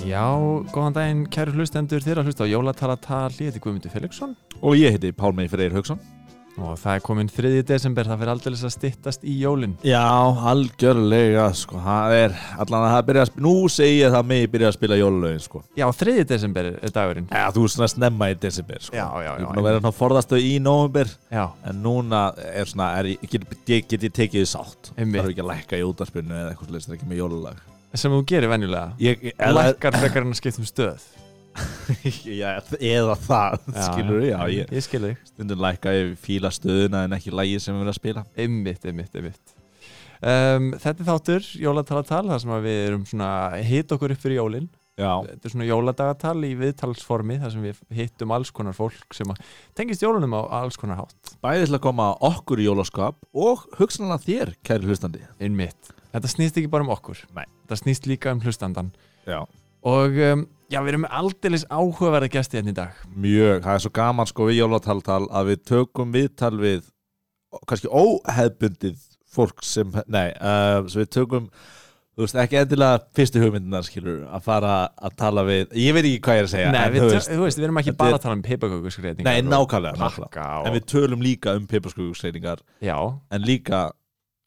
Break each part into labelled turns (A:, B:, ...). A: Já, góðan daginn, kæru hlustendur þeirra hlusta á Jólatalatal, ég heiti Guðmundur Felixson
B: Og ég heiti Pálmei Freyr Haugsson
A: og það er komin 3. desember, það fyrir aldrei að stittast í jólin
B: Já, algjörlega sko, það er allan að það byrja að spila, nú segi ég það mig byrja að spila jólalögin sko
A: Já, 3. desember er dagurinn
B: Já, þú er svona snemma í desember sko
A: Já, já, já,
B: Ég er búin að vera að forðast þau í nóvumber
A: já,
B: En núna er svona, er, ég- get, get, get ég tekið því sátt Það
A: Einmitt.
B: er ekki að lækka í útarspilinu eða eitthvað slið, það er ekki með jólalag
A: sem þú gerir venjulega
B: ég, eða,
A: Lækkar frekar en að skipta um stöð
B: já, eða það, skilur já, ég
A: Ég skilur þig
B: Stundum lækka ég fíla stöðuna en ekki lagið sem við verðum að spila
A: Einmitt, einmitt, einmitt um, Þetta er þáttur, Jólatalatal, það sem að við erum svona hit okkur upp fyrir jólin
B: Já,
A: Þetta er svona jóladagatal í viðtalsformi þar sem við hittum alls konar fólk sem að tengist jólunum á alls konar hátt
B: bæðið til að koma okkur í jólaskap og hugsanlega þér, kæri hlustandi
A: Einmitt Þetta snýst ekki bara um okkur
B: Nei.
A: Þetta snýst líka um hlustandan
B: Já,
A: Og um, já, við erum með aldeilis áhugaverða gesti hérna í dag
B: mjög, það er svo gaman sko við jólataltal að við tökum viðtal við kannski óhefbundið fólk sem, nei, uh, sem við tökum þú veist, ekki endilega fyrstu hugmyndunar skilur að fara að tala við ég veit ekki hvað ég er að segja
A: Nei,
B: en,
A: við,
B: þú
A: tö-
B: veist,
A: þú veist, við erum ekki
B: þetta
A: bara
B: er-
A: að tala um peipakökusgreitingar
B: nei, nákvæmlega, nákvæmlega.
A: Pakka
B: en
A: og,
B: við tölum líka um peiparskugusreiningar
A: já,
B: en líka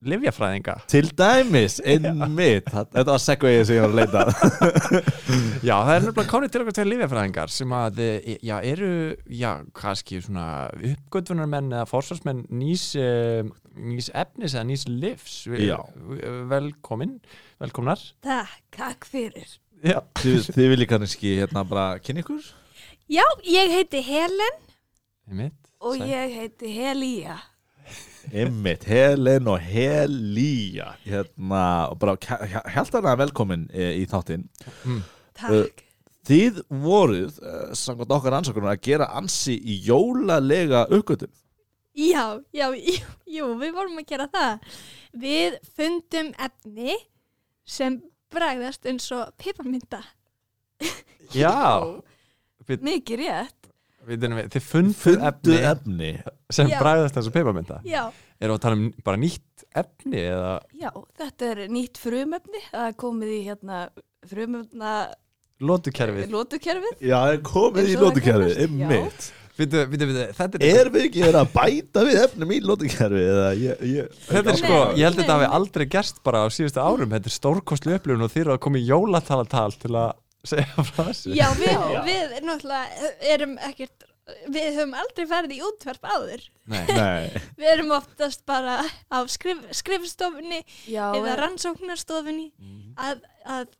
A: livjafræðinga
B: til dæmis einmitt, þetta var segveið sem ég var að leita að.
A: Já, það er nefnilega kánir til okkur tveir livjafræðingar sem að, eh, já, eru, já, kannski svona uppgötunarmenn eða forsvarsmenn nýs, eh, nýs efnis eða nýs livs
B: Já.
A: Velkomin, velkomnar
C: Takk, takk fyrir.
A: Já,
B: þið, þið viljið kannski hérna bara kynni ykkur
C: Já, ég heiti Helen
A: einmitt
C: og
A: Sæl.
C: ég heiti Helía.
B: Einmitt, Helen og Helía hérna, og bara held hana velkomin eh, í þáttinn
C: Takk.
B: Þið voruð, eh, samkvæmt okkar ansökunum að gera ansi í jólalega uppgötum
C: Já, já, jú, jú, við vorum að gera það. Við fundum efni sem bragðast eins og piparmynda.
A: Já, við,
C: Mikið rétt.
A: við, við, þið funduð efni
B: Fundu efni
A: sem
C: Já.
A: bræðast þessu peipamynda
C: Já,
A: Erum við að tala um bara nýtt efni eða
C: já, þetta er nýtt frumefni. Það er komið í hérna frumefna
A: lótukerfið
C: lótukerfið.
B: Já, komið í
C: Eins og það
B: lótukerfið,
C: kallast, já.
B: einmitt
A: Býtu, býtu, býtu, þetta er
B: Er við ekki verið að bæta við efnum í lótukerfið eða ég, ég
A: Þetta er
C: Nei,
A: sko, ég held að
C: nei.
A: þetta hafi aldrei gerst bara á síðustu árum, þetta er stórkostlu upplifun og þeir eru að koma í jólatalatal til að segja frá þessu.
C: Já, við, við náttúrulega erum ekkert, við höfum aldrei farið í útvarp áður.
A: Nei.
B: Nei,
C: Við erum oftast bara á skrif, skrifstofunni
D: Já,
C: eða
D: eða
C: rannsóknarstofunni
A: Mhm.
C: að, að,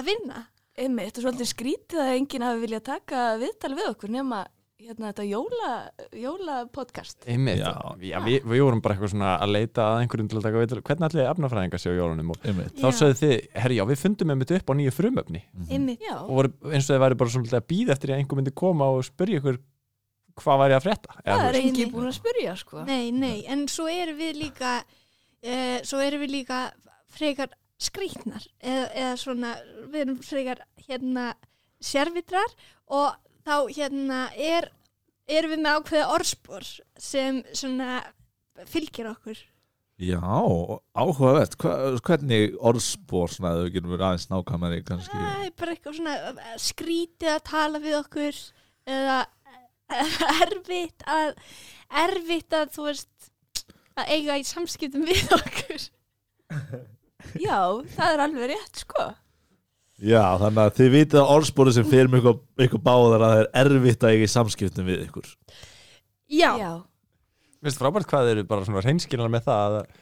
C: að vinna.
D: rannsómi, þetta er svolítið skrítið að enginn hafi viljað taka viðtal við okkur nema hérna þetta jóla, jólapodcast.
A: Einmitt, já,
B: Já.
A: við, við vorum bara eitthvað svona að leita að einhverjum til að taka veitur, hvernig allir efnafræðingar séu á jólunum og
B: einmitt
A: þá sögðu þið, herri já, við fundum einmitt upp á nýju frumöfni
C: Einmitt.
D: Já,
A: og voru, eins og þið væri bara svolítið að býða eftir að einhver myndi koma og spyrja ykkur hvað væri að frétta. Eða
D: það
A: þú
D: er
A: veist.
D: enginn búin að spyrja, sko.
C: Nei, nei, en svo erum við líka, uh, svo erum við líka frekar skrýtnar eða, eða svona, við erum frekar hérna sérvitrar og þá hérna er, erum við með ákveða orðspor sem svona fylgir okkur.
B: Já, áhugavert, Hva, hvernig orðspór svona, ef við getum verið aðeins nákvæmari kannski
C: Það er bara eitthvað svona eh, skrítið að tala við okkur eða erfitt að erfitt að þú veist að eiga í samskiptum við okkur
D: Já, það er alveg rétt, sko.
B: Já, þannig að þið vitið að orðspóri sem fyrir mig ykkur, ykkur báðar að það er erfitt að eiga í samskiptum við ykkur.
C: Já,
A: Mér finnst frábært hvað þið eru bara svona reynskilar með það að,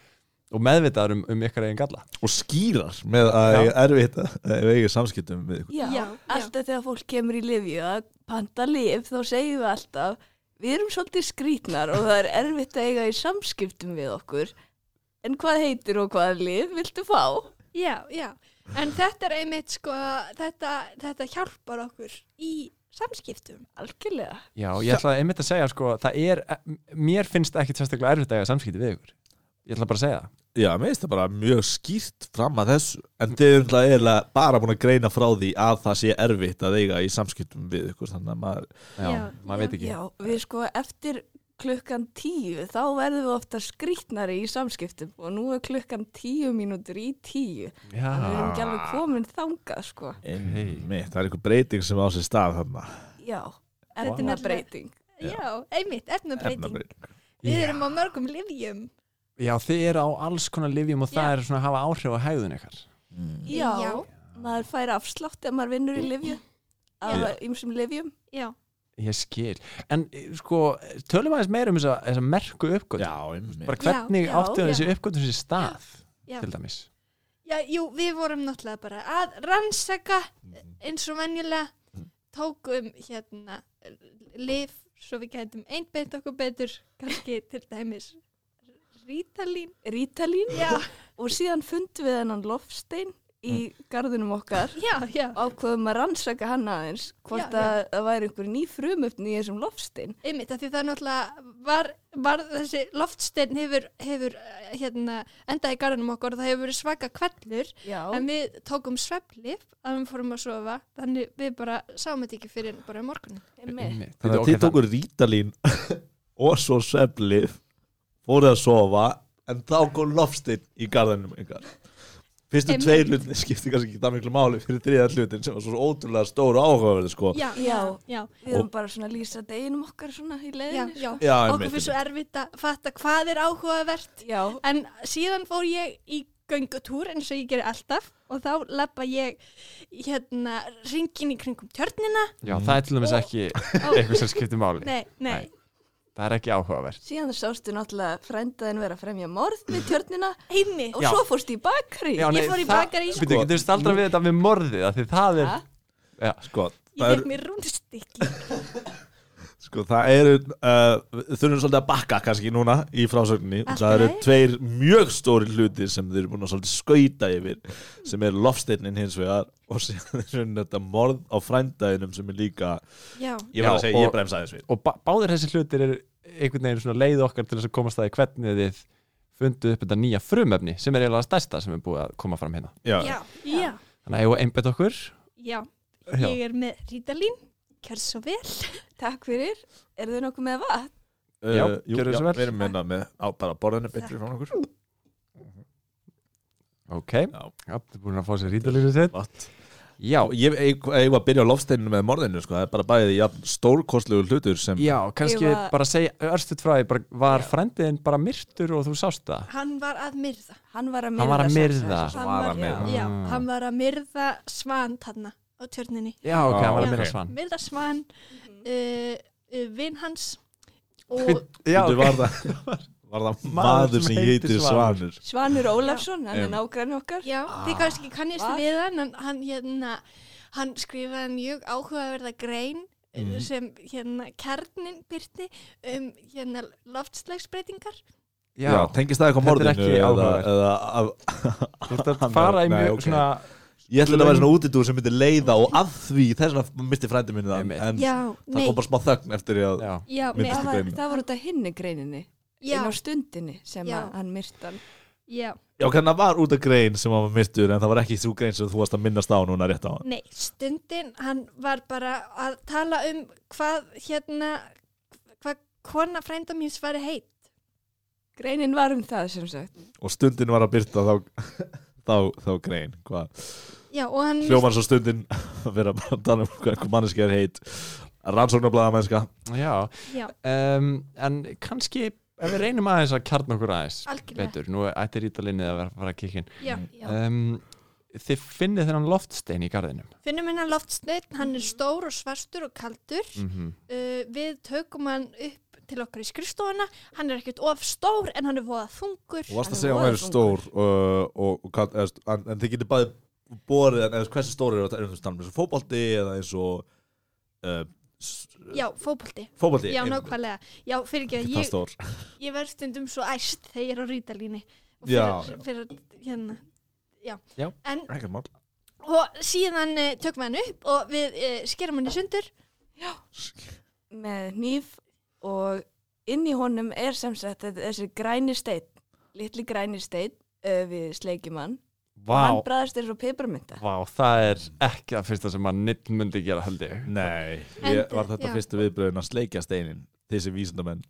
A: og meðvitaðar um, um ykkar eigin galla.
B: Og skýrar með að
A: Já.
B: eiga erfitt að eiga í samskiptum við ykkur.
D: já,
C: Já,
D: alltaf þegar fólk kemur í lifju að panta lif, þá segjum við alltaf, við erum svolítið skrítnar og það er erfitt að eiga í samskiptum við okkur. En hvað heitir og hvaða lif viltu fá?
C: já, já en þetta er einmitt sko þetta, þetta hjálpar okkur í samskiptum
D: Algjörlega.
A: Já, ég ætlaði einmitt að segja sko, það er, mér finnst ekki sérstaklega erfitt að eiga samskipti við ykkur. Ég ætla bara að segja það.
B: Já, mér finnst það bara mjög skýrt fram að þessu. En þið erum náttúrulega eiginlega bara búin að greina frá því að það sé erfitt að eiga í samskiptum við ykkur. Þannig að maður,
A: Já,
C: Já,
A: maður veit ekki.
D: Já, við sko eftir klukkan tíu, þá verðum við ofta skrítnari í samskiptum og nú er klukkan tíu mínútur í tíu. Þannig við erum ekki alveg komin þangað, sko.
B: Einmitt, það er einhver breyting sem á sér stað þarna
D: Já,
C: er
D: efna
C: náttúrulega-
D: breyting.
B: Já.
C: Já, einmitt, efnabreiting.
B: Efnabreyting.
C: Við erum á mörgum livjum.
A: Já, þið eru á alls konar livjum og það
C: Já.
A: er svona að hafa áhrif á hægðun ykkar
B: Mm.
D: Já,
C: Já.
D: maður fær afslátt ef maður vinnur í livju, af
B: Já.
D: ýmsum livjum.
C: Já,
A: Ég skil, en eh, sko tölum aðeins meira um þessa, þessa merku uppgötun
B: Já, einmitt
A: bara hvernig
D: Já, já,
A: áttu
D: já.
A: þessi uppgötun sér stað
C: já.
A: til dæmis
C: Já, jú, við vorum náttúrulega bara að rannsaka eins og venjulega tókum hérna lif svo við gætum einbeitt okkur betur kannski til dæmis Rítalín
D: Rítalín
C: Já,
D: og síðan fundum við hennan lofstein í
A: Mm.
D: garðinum okkar
C: já, já,
D: ákveðum að rannsaka hann aðeins hvort
C: Já, já.
D: að það væri einhver ný frumöfni í þessum lofstein
C: einmitt af því það náttúrulega var, var þessi loftsteinn hefur, hefur eh, hérna endað í garðinum okkur og það hefur verið svaka kvellur
D: Já,
C: en við tókum sveflif að við fórum að sofa þannig við bara sáum þetta ekki fyrir bara um morgunin
D: einmitt.
B: Þannig að þið tókur rítalín og svo sveflið fóruð að sofa en þá kom lofstinn í garðanum ykkar Fyrstu
C: Einmitt.
B: tveir hlutin skipti kannski ekki það miklu máli fyrir þriðan hlutin sem var svo ótrúlega stóru áhugaverði sko
C: Já,
D: Já.
C: já,
D: við erum bara svona að lýsa deginum okkar svona í sko.
C: já,
D: leiðinu
C: já.
B: Já,
C: okkur fyrir svo erfitt að fatta hvað er áhugavert
D: sko. já,
C: En síðan fór ég í göngutúr eins og ég geri alltaf og þá lappa ég hérna ringin í kringum tjörnina.
A: Já, það er til dæmis ekki
C: Ó,
A: eitthvað sem skiptir máli
C: nei, nei.
A: Nei. Það er ekki áhugavert
D: síðan sástu náttúrulega frændaðin vera að fremja morð við tjörnina
C: Einmi.
D: og
A: Já.
D: svo fórstu í bakari
A: Já, nei,
C: Ég fór í
A: það-
C: bakari, sko.
A: Býttu, getur þú staldra við þetta við morðið af Því það er,
D: Ha?
B: sko,
C: Ég
B: það er,
C: fekk mér rúnstikki.
B: sko, það eru uh, við þurfum svolítið að bakka kannski núna í frásögninni
C: Allt
B: það eru
C: í lagi.
B: tveir mjög stóri hluti sem þeir eru búin að svolítið skauta yfir sem er lofstinnin hins vegar og síðan er þetta morð á frændaðinum sem er líka
C: Já,
B: ég verð
A: Já,
B: að segja,
A: og-
B: ég bremsa aðeins við
A: og bá- báðir þessi hlutir er einhvern veginn svona leið okkar til þess að komast það í hvernig þið funduð upp þetta nýja frumefni sem er eiginlega það stærsta sem er búið að koma fram hérna
B: já,
C: já, já,
A: Þannig að ég var einbætt okkur
C: já.
A: Já.
C: Ég er með rítalín, kjör svo vel.
D: Takk fyrir, eru þau nokkuð með vatn?
B: uh,
A: Já,
B: já,
A: gjörðu
B: já
A: svo vel.
B: við erum minna með á bara borðinu betri frá okkur
A: Ok, já, það er búin að fá sér rítalínu sitt
B: Vat.
A: Já,
B: og ég, ég, ég var að byrja á lofsteininu með morðinu sko, það er bara bæðið jafn stórkostlegu hlutur sem
A: já, kannski
D: Ég var-
A: bara segja örstuð frá því bara, Var frændiðin bara myrtur og þú sást það?
C: Hann var að myrða.
D: Hann var að myrða
A: Hann
D: sko.
A: var að
D: sagði
A: myrða.
D: þessi.
B: Hann var að myrða.
C: Já,
A: Ah.
C: hann var að myrða svan þarna á tjörninni.
A: Já, ok,
B: Já,
A: hann var
C: ok.
A: að myrða svan
C: Myrða svan, uh, uh, vinn hans
A: Bíddu,
C: og
A: Já, ok.
B: Bíddu, var, það, var það maður sem heitir Svanur
D: Svanur Ólafsson, hann
A: Um.
D: er nágrann okkar
C: Já, þið
B: Ah.
C: kannski kannist
D: Var?
C: við hann, hann, hann, hérna, hann skrifaði mjög áhugaverða grein mm.
B: Mhm.
C: sem hérna kjarnin byrti um hérna loftslagsbreytingar.
B: Mhm.
A: já,
B: Já, tengist það eitthvað
A: Þetta er
B: morðinu
A: ekki
B: eða,
A: áhugavert.
B: eða, af,
A: þú ert að
B: Hann
A: fara í
B: var-
A: mjög
B: nei, ok.
A: svona
B: Ég ætla að vera svona útidúr sem myndi leiða og að því þess vegna misti frændi minni það
A: Einmitt.
B: en
C: Já,
B: það
C: nei,
B: kom bara smá þögn eftir ég að
A: Já,
C: já, nei,
B: myndist
D: það
B: í
D: var,
B: greininni.
D: það var út af hinni greininni
C: já,
D: inn á stundinni sem
C: Já.
D: að hann myrtan
C: já,
B: Já, kannan það var út af grein sem hann var mistur en það var ekki þú grein sem þú varst að minnast á núna rétt á hann
C: nei, stundin, hann var bara að tala um hvað, hérna, hvað kona frænda mín svari heit.
D: Greinin var um það sem sagt
B: og stundin var að byrta þá, þá, þá grein hvað
C: Já, og hann,
B: hljóman svo stundin að vera bara að tala um hvað einhver manneskja er heit rannsóknarblæða mennska
A: já
C: já,
A: um, En kannski ef við reynum aðeins að kjarn okkur aðeins
C: algjörlega,
A: betur, nú ætti rítalinni að vera að fara að kikkin
C: já, já.
A: um, Þið finnið þennan loftstein í garðinum
C: Finnum hennar loftsneitt, hann er stór og svartur og kaldur.
A: mm
B: Mhm.
C: uh, við tökum hann upp til okkar í skrifstofuna hann er ekkert of stór en hann er voða þungur
B: Þú varst að
D: Hann
B: segja að hún
D: voða
B: væri stór og, og, og kall, eðst, en, en þið getur bæði borið en eða hversu stór eru þetta erum við stannum eins og fótbolti eða eins og uh,
C: já, fótbolti,
B: fótbolti
C: já,
B: einmitt.
C: nákvæmlega já, fyrir
B: Ekki
C: ekki
B: það
C: að
B: stór
C: ég, ég verð stundum svo æst þegar ég er á rítalíni og
B: Já,
C: fyrir, fyrir hérna já,
A: Já.
C: En,
B: Ekkert mál
C: og síðan uh, tökum við hann upp og við uh, skerum hann í sundur
D: með hníf og inn í honum er sem sagt þetta- þessi græni steinn, litli græni steinn uh, við sleikjumann og
A: Vá,
D: hann bræðast eins og peiparmynda
A: vá, það er ekki að fyrsta sem að nýtt myndi gera held ég
B: Nei,
C: En-
B: ég var þetta
C: já.
B: fyrstu viðbröðin að sleikja steinin þessi vísindamenn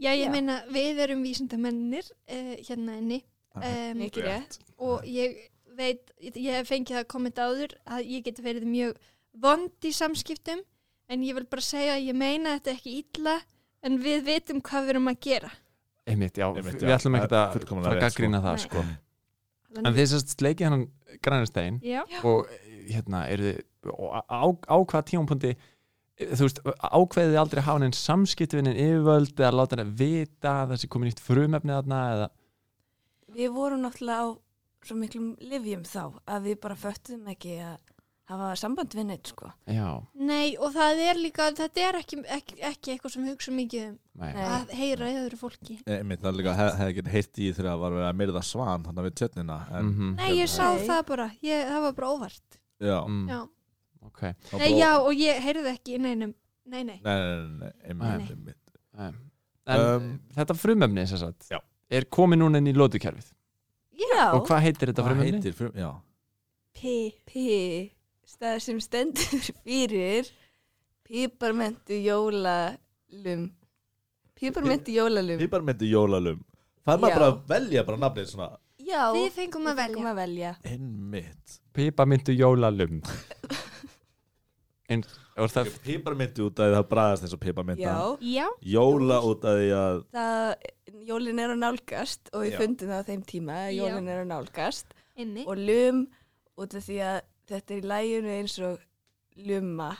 C: Já, ég
D: Já.
C: meina, við erum vísindamennir uh, hérna inni
B: Aha.
C: um,
D: Ekki rétt.
C: og ég veit, ég hef fengið að komment áður að ég geti verið mjög vond í samskiptum en ég vil bara segja að ég meina þetta ekki illa en við vitum hvað við erum að gera.
A: einmitt, já,
B: Einmitt,
A: við
B: já,
A: ætlum ekki
B: það er
A: að
B: fullkomlega
A: að
B: rétt, sko.
A: gaggrina það
C: Nei.
A: sko.
C: Þannig-
A: en þið sérst leikið hann grænistein
C: Já,
A: og hérna eru þið og á, á hvað tímapunkti þú veist, ákveðið þið aldrei að hafa neinn samskiptvinnin yfirvöld eða láta hann að vita að það sé komið nýtt frumefni þarna eða,
D: Við vorum náttúrulega á svo miklum livjum þá að við bara föttum ekki að hafa samband við neitt sko.
A: já,
C: nei og það er líka, þetta er ekki, ekki, ekki eitthvað sem við hugsa mikið um
A: nei,
D: Nei.
C: að heyra í öðru fólki.
B: einmitt, það er líka hef- hefði ekki heitt í þegar það var verið að myrða svan þannig við tjörnina en,
A: Mhm.
C: Nei, ég sá
D: Nei.
C: það bara, ég, það var bara óvart.
B: já,
A: Mm,
C: Já.
A: ok,
B: það
C: Nei,
B: bara-
C: já, og ég heyrði ekki, nei, nei, nei, nei.
B: Nei, nei, nei, nei, einmitt,
C: Nei.
B: einmitt.
A: nei. en
B: Um,
A: þetta frumefni sérst,
B: Já.
A: er komið núna inn í lótukerfið
D: Já.
A: og hvað heitir þetta
B: Hvað
A: frumefni?
B: heitir frum, já,
D: P. P. Stað sem stendur fyrir píparmentu jólalum. Píparmentu jólalum.
B: píparmyndi jólalum það er maður
D: Já.
B: bara að velja bara nafnið svona
D: Já.
C: Við fengum að
D: við
C: velja.
D: fengum að velja.
B: einmitt,
A: Pipamyndu jólalum en, og það
B: píparmyndi út af því að það bræðast eins og píparmynda
D: Já.
C: Já,
B: jóla út af því að
D: Það, jólin er að nálgast og við
B: Já.
D: fundum það á þeim tíma að
C: Já.
D: jólin er að nálgast.
C: inni.
D: og lum út af því að þetta er í læginu eins og lumma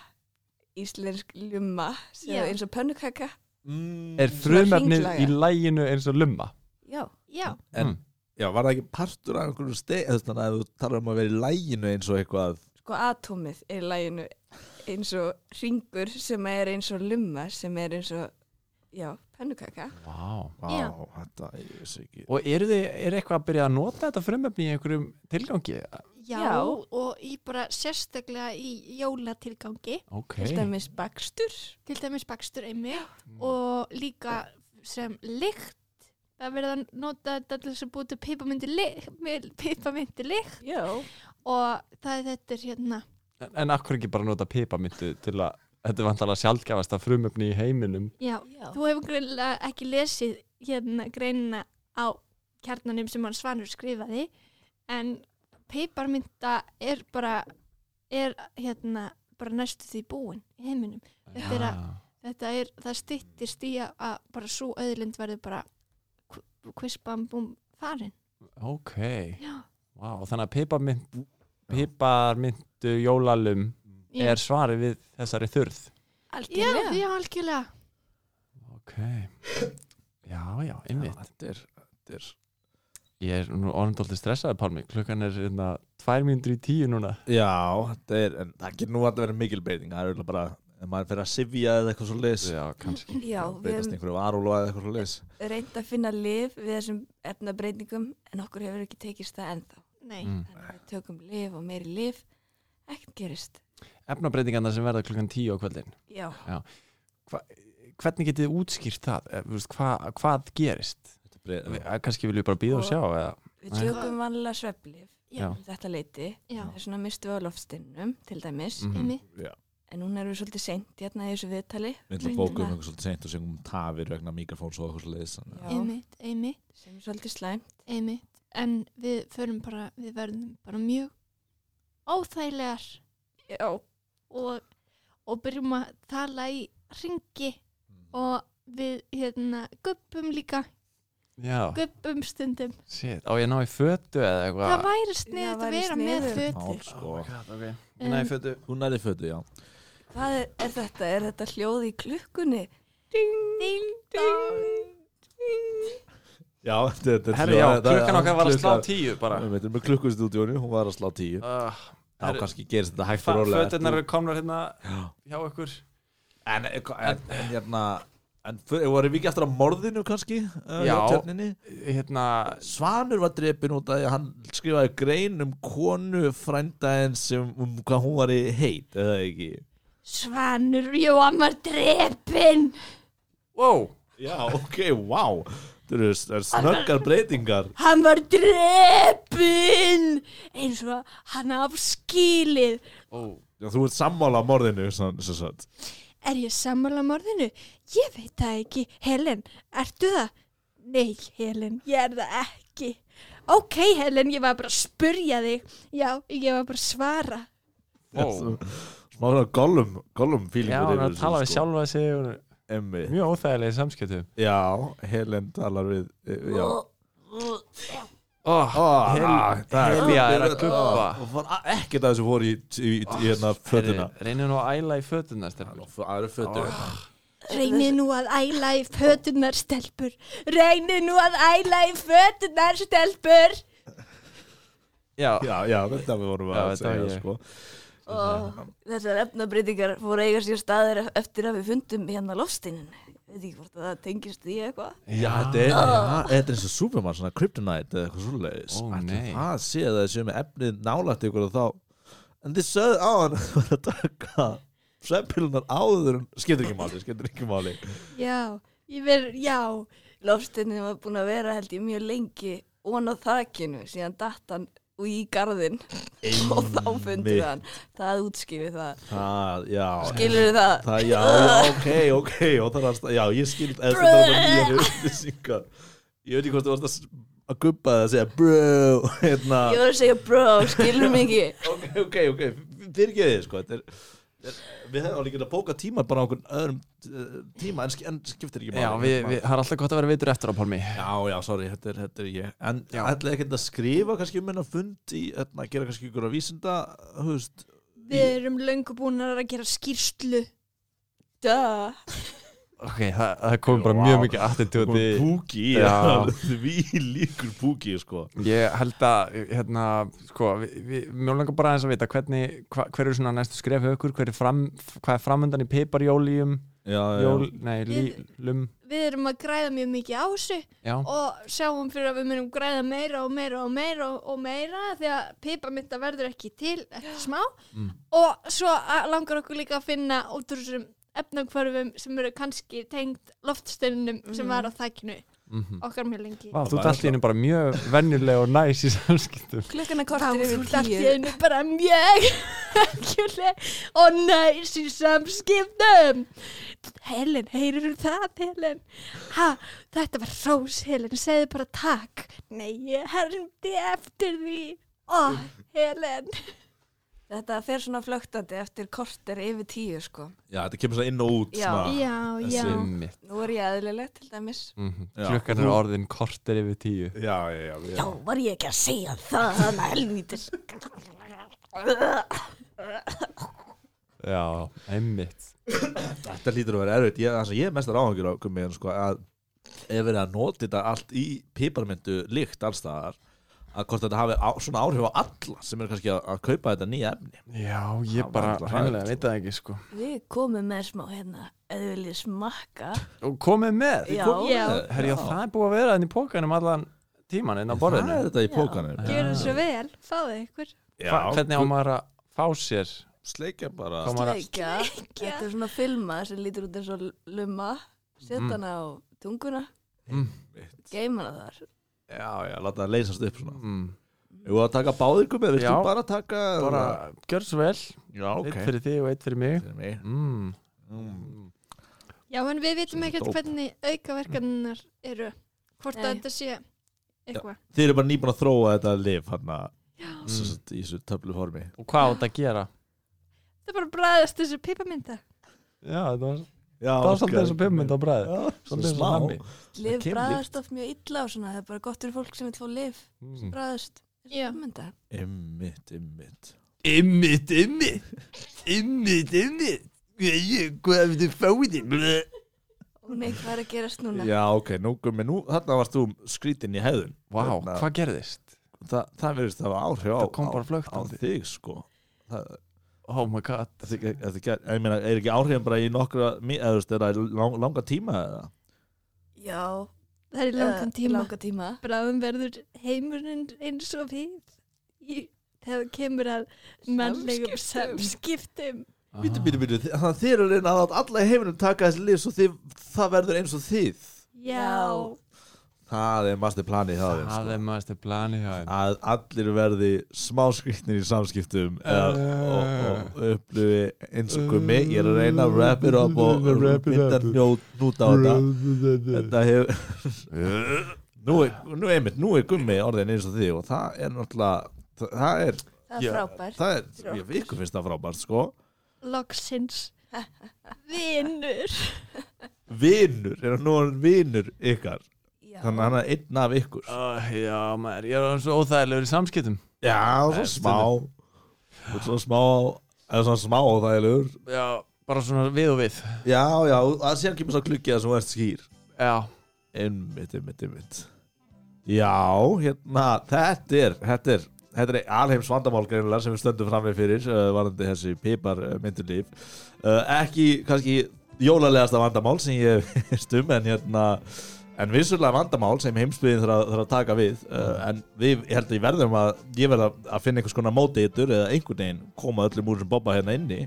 D: íslensk lumma sem
C: Já.
D: er eins og pönnukaka
B: mm,
A: er frumefnið
D: hringlaga.
A: í læginu eins og lumma
D: já,
C: Já,
B: En-
A: Mm.
B: Já, var það ekki partur af einhverju steg þannig að þú talar um að vera í læginu eins og eitthvað
D: sko atómið er í læginu eins og ringur sem er eins og lumma sem er eins og já, pönnukaka
A: Vá.
B: Vá,
C: Já.
B: þetta, ég veist ekki
A: og eru þið er eitthvað að byrja að nota þetta frumefni í einhverjum tilgangi
C: já,
D: Já.
C: og í bara sérstaklega í jólatilgangi,
A: ok,
C: um-
D: til dæmis bakstur
C: til dæmis bakstur einmi og líka sem lykt, það verða að nota þetta til þess að búið til pipamindi lykt, pipamindi lykt
D: já,
C: og það er þetta er hérna,
A: en, en akkur ekki bara nota pipamyndu til að þetta er vantalega sjálfgæfasta frumefni í heiminum
C: já,
D: já.
C: þú hefur greinlega ekki lesið hérna greinina á kjarnanum sem hann Svanur skrifaði en piparmynda er bara, er hérna bara næstu því búin í heiminum Þetta er að-
A: Já.
C: þetta er, það styttist í að- að bara svo öðlind verður bara kv- kvispam búm farin
A: Ah, ok,
C: já,
A: Vá, og þannig að pipamynd piparmyndu jólalum er svarið við þessari þurð
C: já,
D: algjörlega
C: já, algjörlega
A: ok já, já, einmitt
B: þetta er, þetta er
A: Ég er nú orðindóldi stressaði Pálmi, klukkan er hérna tvær mínútur í tíu núna.
B: Já, þetta er, en það getur nú að vera mikil beiting það er auðvitað bara, ef maður fer að sifja eða eitthvað svo leis
A: Já, kannski.
D: já, við
B: beitast
D: höfum
B: einhverju varúlva eða eitthvað svo leis
D: reynd að finna lif við þessum efnabreitingum en okkur hefur ekki tekist það ennþá
C: nei,
A: Mm.
D: þannig að við tökum lif og meiri lif ekkert gerist
A: Efnabreitingarna sem verða klukkan tíu á kvöldin.
D: já
A: Hvernig getið þið útskýrt það? Eh, þú veist, Hva, hvað gerist? Við- eh, Kannski viljum við bara býða og sjá. Eða?
D: Við
A: Nei.
D: tökum vanlega sveflif
A: Já.
D: um þetta leiti.
C: já,
D: Það er svona mistu á lofstinnum til dæmis.
A: Mhm.
C: einmitt
D: En núna erum við svolítið seint hérna í þessu viðtali.
B: Við ætlum að bóka um eitthvað svolítið seint og segjum um tafir vegna mikrofóns og eitthvað svo leis
D: Já,
C: einmitt, einmitt,
D: sem er svolítið slæmt.
C: einmitt en við förum bara, við verðum bara mjög óþægilegar
D: Já.
C: og, og byrjum að tala í ringi og við hérna guppum líka,
A: Já,
C: guppum stundum
A: shit. Á ég að ná í fötu eða
C: það
A: eitthvað? Oh
C: væri sniðut
D: Það
C: að
D: væri
C: vera með
D: sniðugt.
C: fötu
B: sko.
A: god, ok.
C: Ég næ í
A: fötu.
B: Hún er í fötu, já
D: Hvað er, er þetta? Er þetta hljóð í klukkunni?
C: Ding,
D: ding.
B: Já, þetta er
A: Herri, já, klukkan okkar var að slá tíu bara.
B: Við veitum með klukkustúdíónu, hún var að slá tíu
A: Uh,
B: Þá
A: Herri,
B: kannski gerist þetta hægt og rólega
A: Fötunar eru komnar hérna
B: Já.
A: hjá ykkur.
B: En, eh, en, en hérna En eh, fyrir, vorum við ekki eftir að morðinu kannski uh, hjá
A: Já.
B: Tjörninni?
A: Hérna,
B: Svanur var drepin út af því að hann skrifaði grein um konu frændaðin sem um hvað hún var í heit eða ekki
C: Svanur Jóhann var drepinn
A: wow,
B: Já, ok, wow Þú eru það eru snöggar breytingar
C: Hann var drepinn eins og hann af skilið
A: oh,
B: Já, Þú ert sammála á morðinu sann, sann, sann.
C: Er ég sammála morðinu? Ég veit það ekki. Helen, ertu það? Nei, Helen, ég er það ekki. Ok, Helen, ég var bara að spurja þig. Já, ég var bara að svara.
A: Ó.
B: Smá svona gollum, gollum fílingur
A: Já, hún
B: yfir
A: er að
B: þessu,
A: tala við
B: sko.
A: sjálfa sig og hún er
B: Einmitt.
A: mjög óþægilega samskiptum
B: Já, Helen talar við eh, Já,
A: oh,
B: Ah,
A: Hel-
B: það
A: Helja er að gubba.
B: Ah, og fór a- Ekkert af þessu fór í, í, í, í hérna fötuna
A: Reynir nú að æla í fötuna stelpur.
B: Aðra fötu
C: Reynið nú að æla í fötunar stelpur. Reynið nú að æla í fötunar stelpur.
A: Já,
B: Já, já, þetta við vorum
A: Já,
B: að
A: þetta var
B: segja
A: ég.
B: sko.
D: og þessar efnabreitingar fóru að eiga sér staðir eftir að við fundum hérna lofstinin veit ekki hvort að það tengist því eitthvað
B: Já,
A: Ah.
B: þetta er, já, þetta er eins og Superman, svona Kryptonite eða eitthvað svoleiðis
A: Ó,
B: Ætli
A: nei.
B: Það sé að það sé með efnið nálægt ykkur og þá En þið sögðu á hann var að taka sveppilunar áður en skiptir ekki máli, skiptir ekki máli
C: Já, ég verð, já.
D: lofstinin var búin að vera held ég mjög lengi on á þakinu síðan datt hann og í garðin og þá fundum við hann það útskýfi það
B: Það, já
D: skilur það
B: Það, já, já, ok, ok og það er að, já, ég skil eða þetta var bara nýjar upplýsingar ég veit ekki hvort þú varst að, að gubba það að segja bro, hérna
D: ég var að segja bro, skilur mig ekki
B: ok, ok, ok, fyrirgeði þið sko þetta er, er, við hefum alveg getað bókað tíma bara á einhvern öðrum eh, tíma en, sk- en skiptir ekki máli. Hérna,
A: já við, við, það er alltaf gott að vera vitur eftir á Pálmi
B: já, já, sorry, þetta er, þetta er ég en
A: Já.
B: ætlaði ekki að skrifa kannski um hennar fund í, hérna, gera kannski ykkur að vísinda húst,
C: Við erum löngu búin að gera skýrslu.
D: Duh.
A: Ok, það, það kom bara
B: Vá.
A: mjög mikið attitúti
B: púki,
A: Já.
B: því líkur púki, sko
A: Ég held að, hérna, sko, við, við, mjög langar bara aðeins að vita hvernig, hva, hver eru svona næstu skref hjá ykkur, hver er fram, hvað er framöndan í piparjóljum,
B: já,
A: jól, nei,
C: Við-
A: lýlum,
C: Við erum að græða mjög mikið á þessu
A: já,
C: og sjáum fyrir að við myndum græða meira og meira og meira og, og meira því að piparmynda verður ekki til eftir smá
A: Mm.
C: og svo að- langar okkur líka að finna út úr þessum efnakvarfum sem eru kannski tengt loftsteinunum sem var á þækinu
A: mhm
C: okkar mjög lengi
A: Vá, þú
B: væri
A: ert allt í henni bara mjög venjuleg og næs í samskiptum
D: klukkan er
C: Vá,
D: kortir
C: þú
D: yfir
C: ert allt í
D: tíu
C: einu bara mjög ekkjuleg og næs í samskiptum Helen, heyrur það Helen? Ha, þetta var rós Helen, segðu bara takk Nei, ég herndi eftir því Ó, Helen
D: þetta fer svona flögtandi eftir kortir yfir tíu sko
B: Já, þetta kemur svona inn og út
D: Já.
B: svona.
C: Já, já
B: Ah, Þessi-
A: Einmitt.
D: nú er ég aðlilega til dæmis
A: Mhm.
B: Já.
A: Klukkan er orðin kortir yfir tíu
B: já, já, já, já.
D: var ég ekki að segja það, hann er helvítis.
A: Já, einmitt
B: Þetta hlýtur að vera erfitt Ég, það sem ég er mestar áhengjur á komið sko, að ef verið að nota þetta allt í piparmyndu líkt alls staðar að hvort þetta hafi á, svona áhrif á alla sem eru kannski að, að kaupa þetta nýja efni
A: Já, ég
B: Það var
A: bara
B: alltaf
A: hægilega
B: hrætt.
A: veit það ekki sko
D: Við komum með smá hérna, ef þið viljið smakka.
A: Og komið með
D: Já.
C: Já.
A: Herri, já, það er búið að vera enn í pókanum allan tíman inn á
B: Það
A: borðinu
B: er þetta í
D: Já.
B: pókanum
C: Gjörðu svo vel, fáðu ykkur
A: Hva- Hvernig á maður að fá sér
B: Sleikja bara
A: Hvað maður að
D: Sleikja. Þetta er svona filma sem lítur út eins og lumma. Sett
A: Mm.
D: hana á tunguna,
A: mm,
D: geima hana þar.
B: Já, já, láta það leysast upp svona
A: mm,
B: Jú að taka báðir komið, viltu
A: Já.
B: bara taka
A: Bara, gjör svo vel
B: Já, ok
A: Eitt fyrir þig og eitt fyrir mig
B: Fyrir mig.
A: mm.
B: Mm.
C: Já, en við vitum
B: Svona
C: ekkert
B: dóp.
C: hvernig aukaverkanar eru Hvort að
D: Nei.
C: þetta sé eitthvað
B: Þið eru bara nýbúin að þróa þetta lif hann að
A: Mm.
B: í þessu töflu formi
A: Og hvað á þetta að gera?
C: Þetta er bara að bræðast þessu piparmynda
A: Já, það var,
B: Já,
A: það var svolítið eins og pimmynd á bræði Svolítið eins og nammi
D: Liv
B: kemur
D: bræðast oft mjög illa og svona. Það er bara gott fyrir fólk sem vil fá liv
A: Mm.
D: bræðast.
C: Já.
D: Mynda.
B: Ymmit, ymmit
A: Ymmit, ymmit Ymmit, ymmit Hvað er þetta fáið?
D: Og nei, hvað er að gerast núna?
B: Já, ok, nú gummi, nú, þarna varst þú skrítin í hefðun
A: Vá,
B: Þarna-
A: hvað gerðist?
B: Það, það verðist að hafa áhrif á,
A: Það kom
B: á,
A: bara
B: á
A: flögtandi
B: þig, sko Það,
A: Oh my god
B: það, það, það, ég meina, er ekki áhrifin bara í nokkra, mi- eða þú veist, er það í lang, langa tíma eða?
D: Já.
C: Það er í langan
D: eh,
C: tíma
D: Langan tíma.
C: bráðum verður heimurinn eins og við í, þegar kemur að mannlegum samskiptum
B: Býtu, býtu, býtu, þi- þannig að þið eru að reyna að láta alla í heiminum taka þessi lif svo þið, það verður eins og þið
C: já,
B: það er masterplanið hjá þeim
A: Það
B: sko.
A: er maður plani hjá þeim
B: að allir verði smáskrýtnir í samskiptum eða, og, og
A: Eh.
B: upplifi eins og gummi ég er að reyna að wrap it up og
A: Wrap it up.
B: mynda njót út á þetta þetta hefur nú er, nú, einmitt, nú er gummi orðin eins og því og það er náttúrulega það- það er,
D: það
B: Já,
D: er frábært
B: það er ég ykkur finnst það frábært sko
C: Loksins Vinnur
B: vinnur, er hann nú orðin vinnur ykkar
D: Já.
B: þannig að hann er einn af ykkur
A: Uh, já maður, ég er orðinn svo óþægilegur í samskiptum
B: já, svo
A: Nei,
B: smá Og svo smá eða svona smá þægilegur
A: Já, bara svona við og við
B: já, já, og það sé ekki með svo klukkið að þú ert skýr
A: Já,
B: Einmitt, einmitt, einmitt Já, hérna, þetta er þetta er, þetta er alheims vandamál greinilega sem við stöndum frammi fyrir uh, varandi þessi pipar uh, myndulíf uh, ekki, kannski, jólalegasta vandamál sem ég hef heyrt um en hérna, en vissulega vandamál sem heimsbyðin þarf, að- þarf að taka við uh, en við, ég held að ég verðum að ég verð að, að finna einhvers konar móteitur eða einhvern veginn koma öllum úr sem bobba hérna inni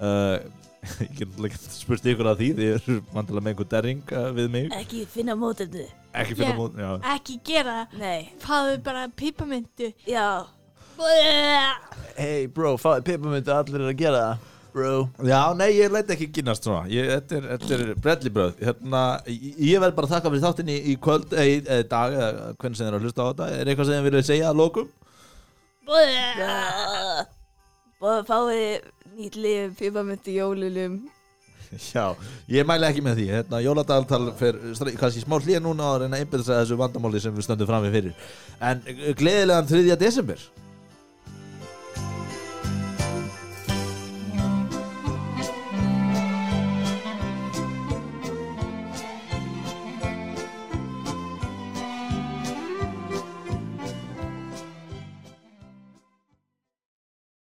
B: uh, ég get náttúrulega ekki spurt ykkur að því því ég er vandilega með einhver derring uh, við mig
D: ekki finna mótendu
B: ekki finna
C: Já.
B: mót, já
C: Ekki gera það
D: nei,
C: Fáðu bara pípamyndu
D: já,
A: hey bro, fáið pippamöndu, allir er að gera það Bro
B: Já, nei, ég læti ekki kynast svona ég, Þetta er, þetta er brellibröð hérna, Ég ég verð bara að þakka fyrir þáttin í, í kvöld eða í e, dag, eða hvernig sem þið er að hlusta á þetta Er eitthvað sem þið viljið segja að lókum?
D: og fáið nýtt lif, pipamöntu jólulum
B: Já, ég mæli ekki með því hérna, Jóladagatal fer stra- kannski smá hlýja núna og reyna að einbyrða sig að þessu vandamáli sem við stöndum fram við fyrir En eh, gleðilegan 3. desember